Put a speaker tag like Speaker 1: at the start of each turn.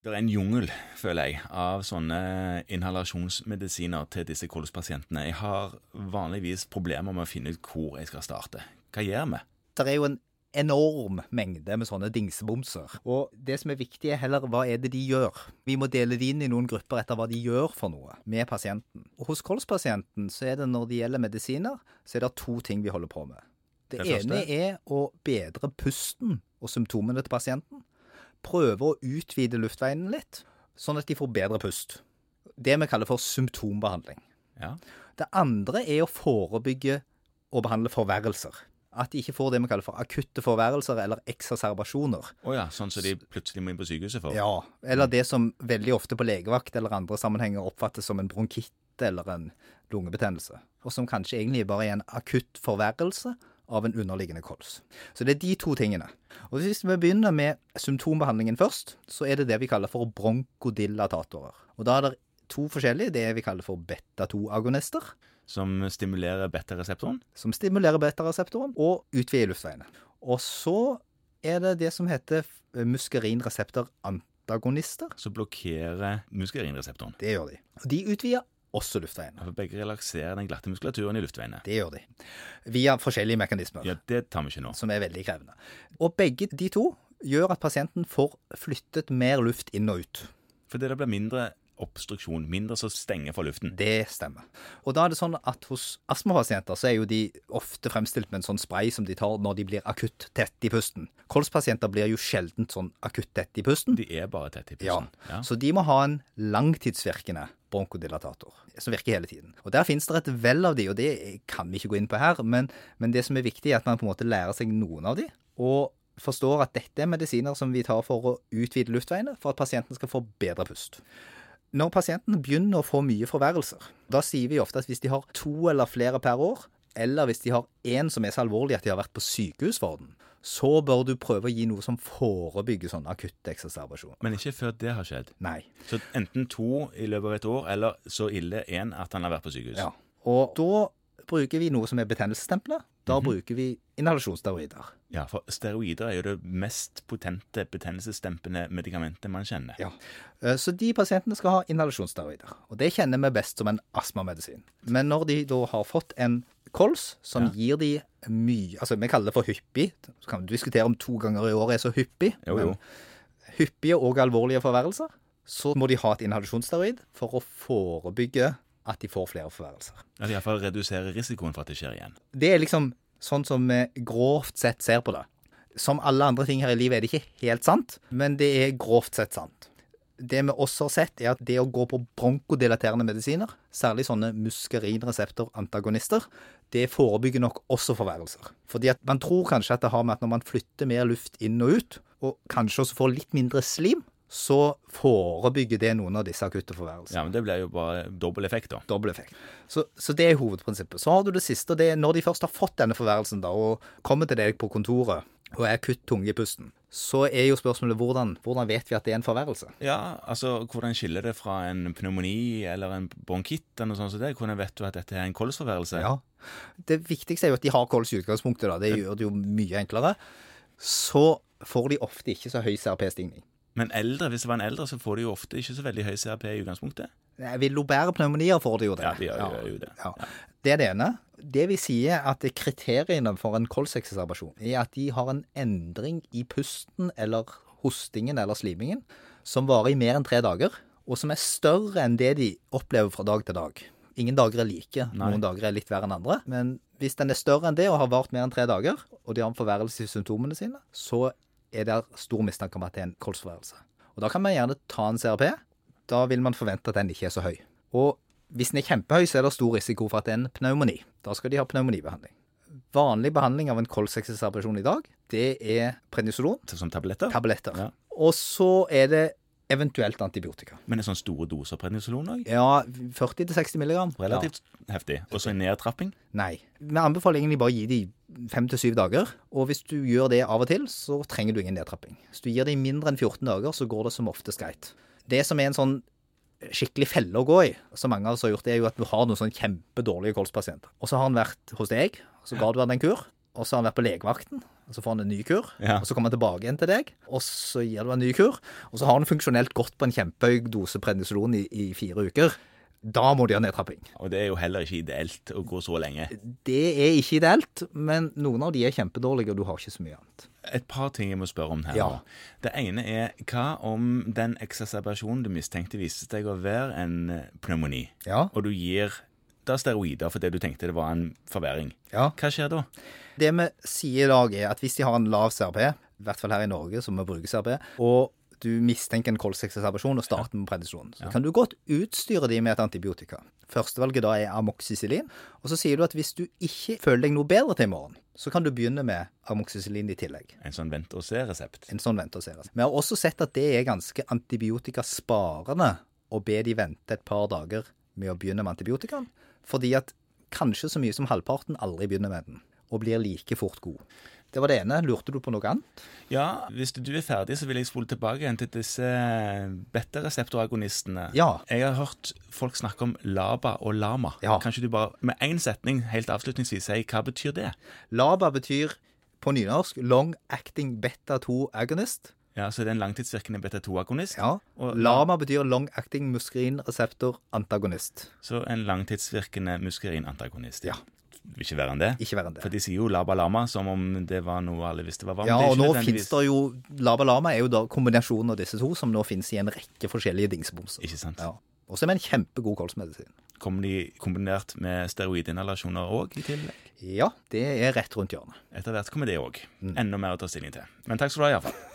Speaker 1: Det er en jungel, føler jeg, av sånne inhalasjonsmedisiner til disse kolspasientene. Jeg har vanligvis problemer med å finne ut hvor jeg skal starte. Hva gjør vi?
Speaker 2: Det er jo en enorm mengde med sånne dingsebomser. Og det som er viktig, er heller hva er det de gjør. Vi må dele de inn i noen grupper etter hva de gjør for noe med pasienten. Og hos kolspasienten så er det når det gjelder medisiner, så er det to ting vi holder på med. Det,
Speaker 1: Det første?
Speaker 2: ene er å bedre pusten og symptomene til pasienten. Prøve å utvide luftveien litt, sånn at de får bedre pust. Det vi kaller for symptombehandling.
Speaker 1: Ja,
Speaker 2: Det andre er å forebygge og behandle forverrelser. At de ikke får det vi kaller for akutte forverrelser eller eksacerbasjoner.
Speaker 1: Å ja sånn som de plutselig må inn på sykehuset for?
Speaker 2: Ja, eller det som veldig ofte på legevakt eller andre sammenhenger oppfattes som en bronkitt eller en lungebetennelse. Og som kanskje egentlig bare er en akutt forverrelse av en underliggende kols. Så det er de to tingene. Og hvis vi begynner med symptombehandlingen først, så er det det vi kaller for bronkodilatatorer. Og da er det to forskjellige. Det vi kaller for beta-2-agonister
Speaker 1: Som stimulerer beta-reseptoren?
Speaker 2: som stimulerer beta-reseptoren og utvider luftveiene. Og så er det det som heter eh, muskerinreseptor-antagonister.
Speaker 1: Som blokkerer muskelrinreseptoren.
Speaker 2: Det gjør de. Og De utvider også luftveiene.
Speaker 1: For begge relakserer den glatte muskulaturen i luftveiene.
Speaker 2: Det gjør de. Via forskjellige mekanismer,
Speaker 1: Ja, det tar vi ikke nå.
Speaker 2: som er veldig krevende. Og begge de to gjør at pasienten får flyttet mer luft inn og ut.
Speaker 1: Fordi det blir mindre obstruksjon, mindre som stenger for luften.
Speaker 2: Det stemmer. Og da er det sånn at hos astmapasienter så er jo de ofte fremstilt med en sånn spray som de tar når de blir akutt tett i pusten. Kolspasienter blir jo sjelden sånn akutt tett i pusten.
Speaker 1: De er bare tett i
Speaker 2: Ja.
Speaker 1: pusten. Ja.
Speaker 2: sånn. Så de må ha en langtidsvirkende bronkodilatator som virker hele tiden. Og Der finnes det et vell av de, og det kan vi ikke gå inn på her, men, men det som er viktig, er at man på en måte lærer seg noen av de, og forstår at dette er medisiner som vi tar for å utvide luftveiene, for at pasienten skal få bedre pust. Når pasienten begynner å få mye forverrelser, da sier vi ofte at hvis de har to eller flere per år, eller hvis de har én som er så alvorlig at de har vært på sykehus for den, så bør du prøve å gi noe som forebygger sånn akutt eksacerbasjon.
Speaker 1: Men ikke før det har skjedd.
Speaker 2: Nei.
Speaker 1: Så enten to i løpet av et år, eller så ille én at han har vært på sykehus.
Speaker 2: Ja. Og da bruker vi noe som er betennelsesstempler. Da
Speaker 1: Mhm.
Speaker 2: bruker vi inhalasjonsteroider.
Speaker 1: Ja, For steroider er jo det mest potente betennelsesdempende medikamentet man kjenner.
Speaker 2: Eh, Så de pasientene skal ha inhalasjonsteroider. Og det kjenner vi best som en astmamedisin. Men når de da har fått en kols som
Speaker 1: Ja.
Speaker 2: gir de mye Altså, vi kaller det for hyppig. Så kan vi diskutere om to ganger i året er så hyppig.
Speaker 1: Jo, jo.
Speaker 2: men Hyppige og alvorlige forverrelser. Så må de ha et inhalasjonsteroid for å forebygge at de får flere forverrelser.
Speaker 1: Eller iallfall redusere risikoen for at det skjer igjen.
Speaker 2: Det er liksom sånn som vi grovt sett ser på det. Som alle andre ting her i livet er det ikke helt sant, men det er grovt sett sant. Det vi også har sett, er at det å gå på bronkodilaterende medisiner, særlig sånne muskerinreseptor-antagonister, det forebygger nok også forverrelser. Fordi at man tror kanskje at det har med at når man flytter mer luft inn og ut, og kanskje også får litt mindre slim, så forebygger det noen av disse akutte forverrelsene
Speaker 1: Ja, men Det blir jo bare dobbel effekt, da.
Speaker 2: dobbel effekt. Så, så det er hovedprinsippet. Så har du det siste, og det er når de først har fått denne forværelsen da, og kommer til deg på kontoret og er akutt tunge i pusten, så er jo spørsmålet hvordan, hvordan vet vi at det er en forværelse?
Speaker 1: Ja, altså, Hvordan skiller det fra en pneumoni eller en bronkitt? eller noe sånt som det? Hvordan vet du at dette er en kolsforværelse?
Speaker 2: Ja. Det viktigste er jo at de har kols i utgangspunktet, da. det gjør det jo mye enklere. Så får de ofte ikke så høy CRP-stigning.
Speaker 1: Men eldre, hvis det var en eldre, så får du jo ofte ikke så veldig høy CRP i utgangspunktet.
Speaker 2: Nei, Ved lobære pneumonier får de jo det.
Speaker 1: Ja, de gjør- gjør jo det.
Speaker 2: Ja. Det er det ene. Det vi sier er at kriteriene for en kolsekseserbasjon er at de har en endring i pusten eller hostingen eller slimingen som varer i mer enn tre dager, og som er større enn det de opplever fra dag til dag. Ingen dager er like, noen dager er litt verre enn andre. Men hvis den er større enn det og har vart mer enn tre dager, og de har en forverrelse i symptomene sine, så er det stor mistanke om at det er en kolsforverrelse. Og da kan man gjerne ta en CRP. Da vil man forvente at den ikke er så høy. Og hvis den er kjempehøy, så er det stor risiko for at det er en pneumoni. Da skal de ha pneumonibehandling. Vanlig behandling av en kolsekseserbasjon i dag, det er prednisolon,
Speaker 1: Sånn Som tabletter.
Speaker 2: tabletter.
Speaker 1: Ja.
Speaker 2: Og så er det eventuelt antibiotika.
Speaker 1: Men en sånn store doser prednisolon òg?
Speaker 2: Ja, 40-60 milligram.
Speaker 1: Relativt heftig. Og så en nedtrapping?
Speaker 2: Ja. Nei. Vi anbefaler egentlig bare å gi de fem til syv dager. Og hvis du gjør det av og til, så trenger du ingen nedtrapping. Hvis du gir de mindre enn 14 dager, så går det som oftest greit. Det som er en sånn skikkelig felle å gå i, som mange av oss har gjort, det er jo at du har noen sånn kjempedårlige kolspasienter. Og så har han vært hos deg, og så ga du han en kur, og så har han vært på legevakten, og så får han en ny kur.
Speaker 1: Ja.
Speaker 2: Og så kommer han tilbake igjen til deg, og så gir du en ny kur. Og så har han funksjonelt gått på en kjempehøy dose prednisolon i, i fire uker. Da må de ha nedtrapping.
Speaker 1: Og det er jo heller ikke ideelt å gå så lenge.
Speaker 2: Det er ikke ideelt, men noen av de er kjempedårlige, og du har ikke så mye annet.
Speaker 1: Et par ting jeg må spørre om her.
Speaker 2: Ja.
Speaker 1: nå. Det ene er hva om den eksacerbasjonen du mistenkte viste seg å være en eh, pneumoni,
Speaker 2: Ja,
Speaker 1: og du gir da steroider fordi du tenkte det var en forverring.
Speaker 2: ja.
Speaker 1: Hva skjer da?
Speaker 2: Det vi sier i dag, er at hvis de har en lav CRP, i hvert fall her i Norge, som vi bruker CRP, og du mistenker en kolsekseserbasjon og starter med prednison, så kan du godt utstyre de med et antibiotika. Førstevalget da er amoxicillin. Og så sier du at hvis du ikke føler deg noe bedre til i morgen, så kan du begynne med amoxicillin i tillegg.
Speaker 1: En sånn vent-og-se-resept.
Speaker 2: En sånn vente og se. altså. Vi har også sett at det er ganske antibiotikasparende å be de vente et par dager med å begynne med antibiotikaen, fordi at kanskje så mye som halvparten aldri begynner med den, og blir like fort god. Det var det ene. Lurte du på noe annet?
Speaker 1: Ja, hvis du er ferdig, så vil jeg spole tilbake igjen til disse eh, beta-reseptoragonistene.
Speaker 2: Ja.
Speaker 1: Jeg har hørt folk snakke om LABA og LAMA.
Speaker 2: Ja.
Speaker 1: Kanskje du bare med én setning helt avslutningsvis sier hva betyr det?
Speaker 2: LABA betyr på nynorsk long acting beta 2 agonist.
Speaker 1: Ja, Så det er en langtidsvirkende beta-2-agonist.
Speaker 2: Ja.
Speaker 1: Og
Speaker 2: LAMA betyr long acting muskrin reseptor antagonist.
Speaker 1: Så en langtidsvirkende muskerin-antagonist.
Speaker 2: Ja.
Speaker 1: Ikke verre enn det.
Speaker 2: Ikke verre enn det.
Speaker 1: For de sier jo laba-lama som om det var noe alle visste hva var.
Speaker 2: Ja, og nå
Speaker 1: fins
Speaker 2: finnes det jo Laba Lama er jo da kombinasjonen av disse to, som nå finnes i en rekke forskjellige dingsebomser.
Speaker 1: Ikke sant.
Speaker 2: Ja. Og så er det en kjempegod kolsmedisin.
Speaker 1: Kommer de kombinert med steroidinhalasjoner òg i tillegg?
Speaker 2: Ja, det er rett rundt hjørnet. Mm.
Speaker 1: Etter hvert kommer det òg. Enda mer å ta stilling til. Men takk skal du ha, iallfall.